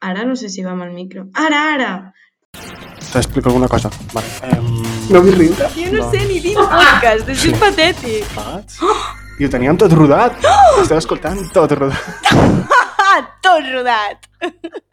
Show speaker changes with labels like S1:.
S1: Ara no sé si va amb el micro. Ara, ara!
S2: T'explico alguna cosa. Vale. Ehm...
S3: No vull riure.
S1: Jo no, sé ni dir podcast, és patètic.
S2: Vaig. I ho teníem tot rodat. Estava escoltant tot rodat.
S1: Ah, tot rodat!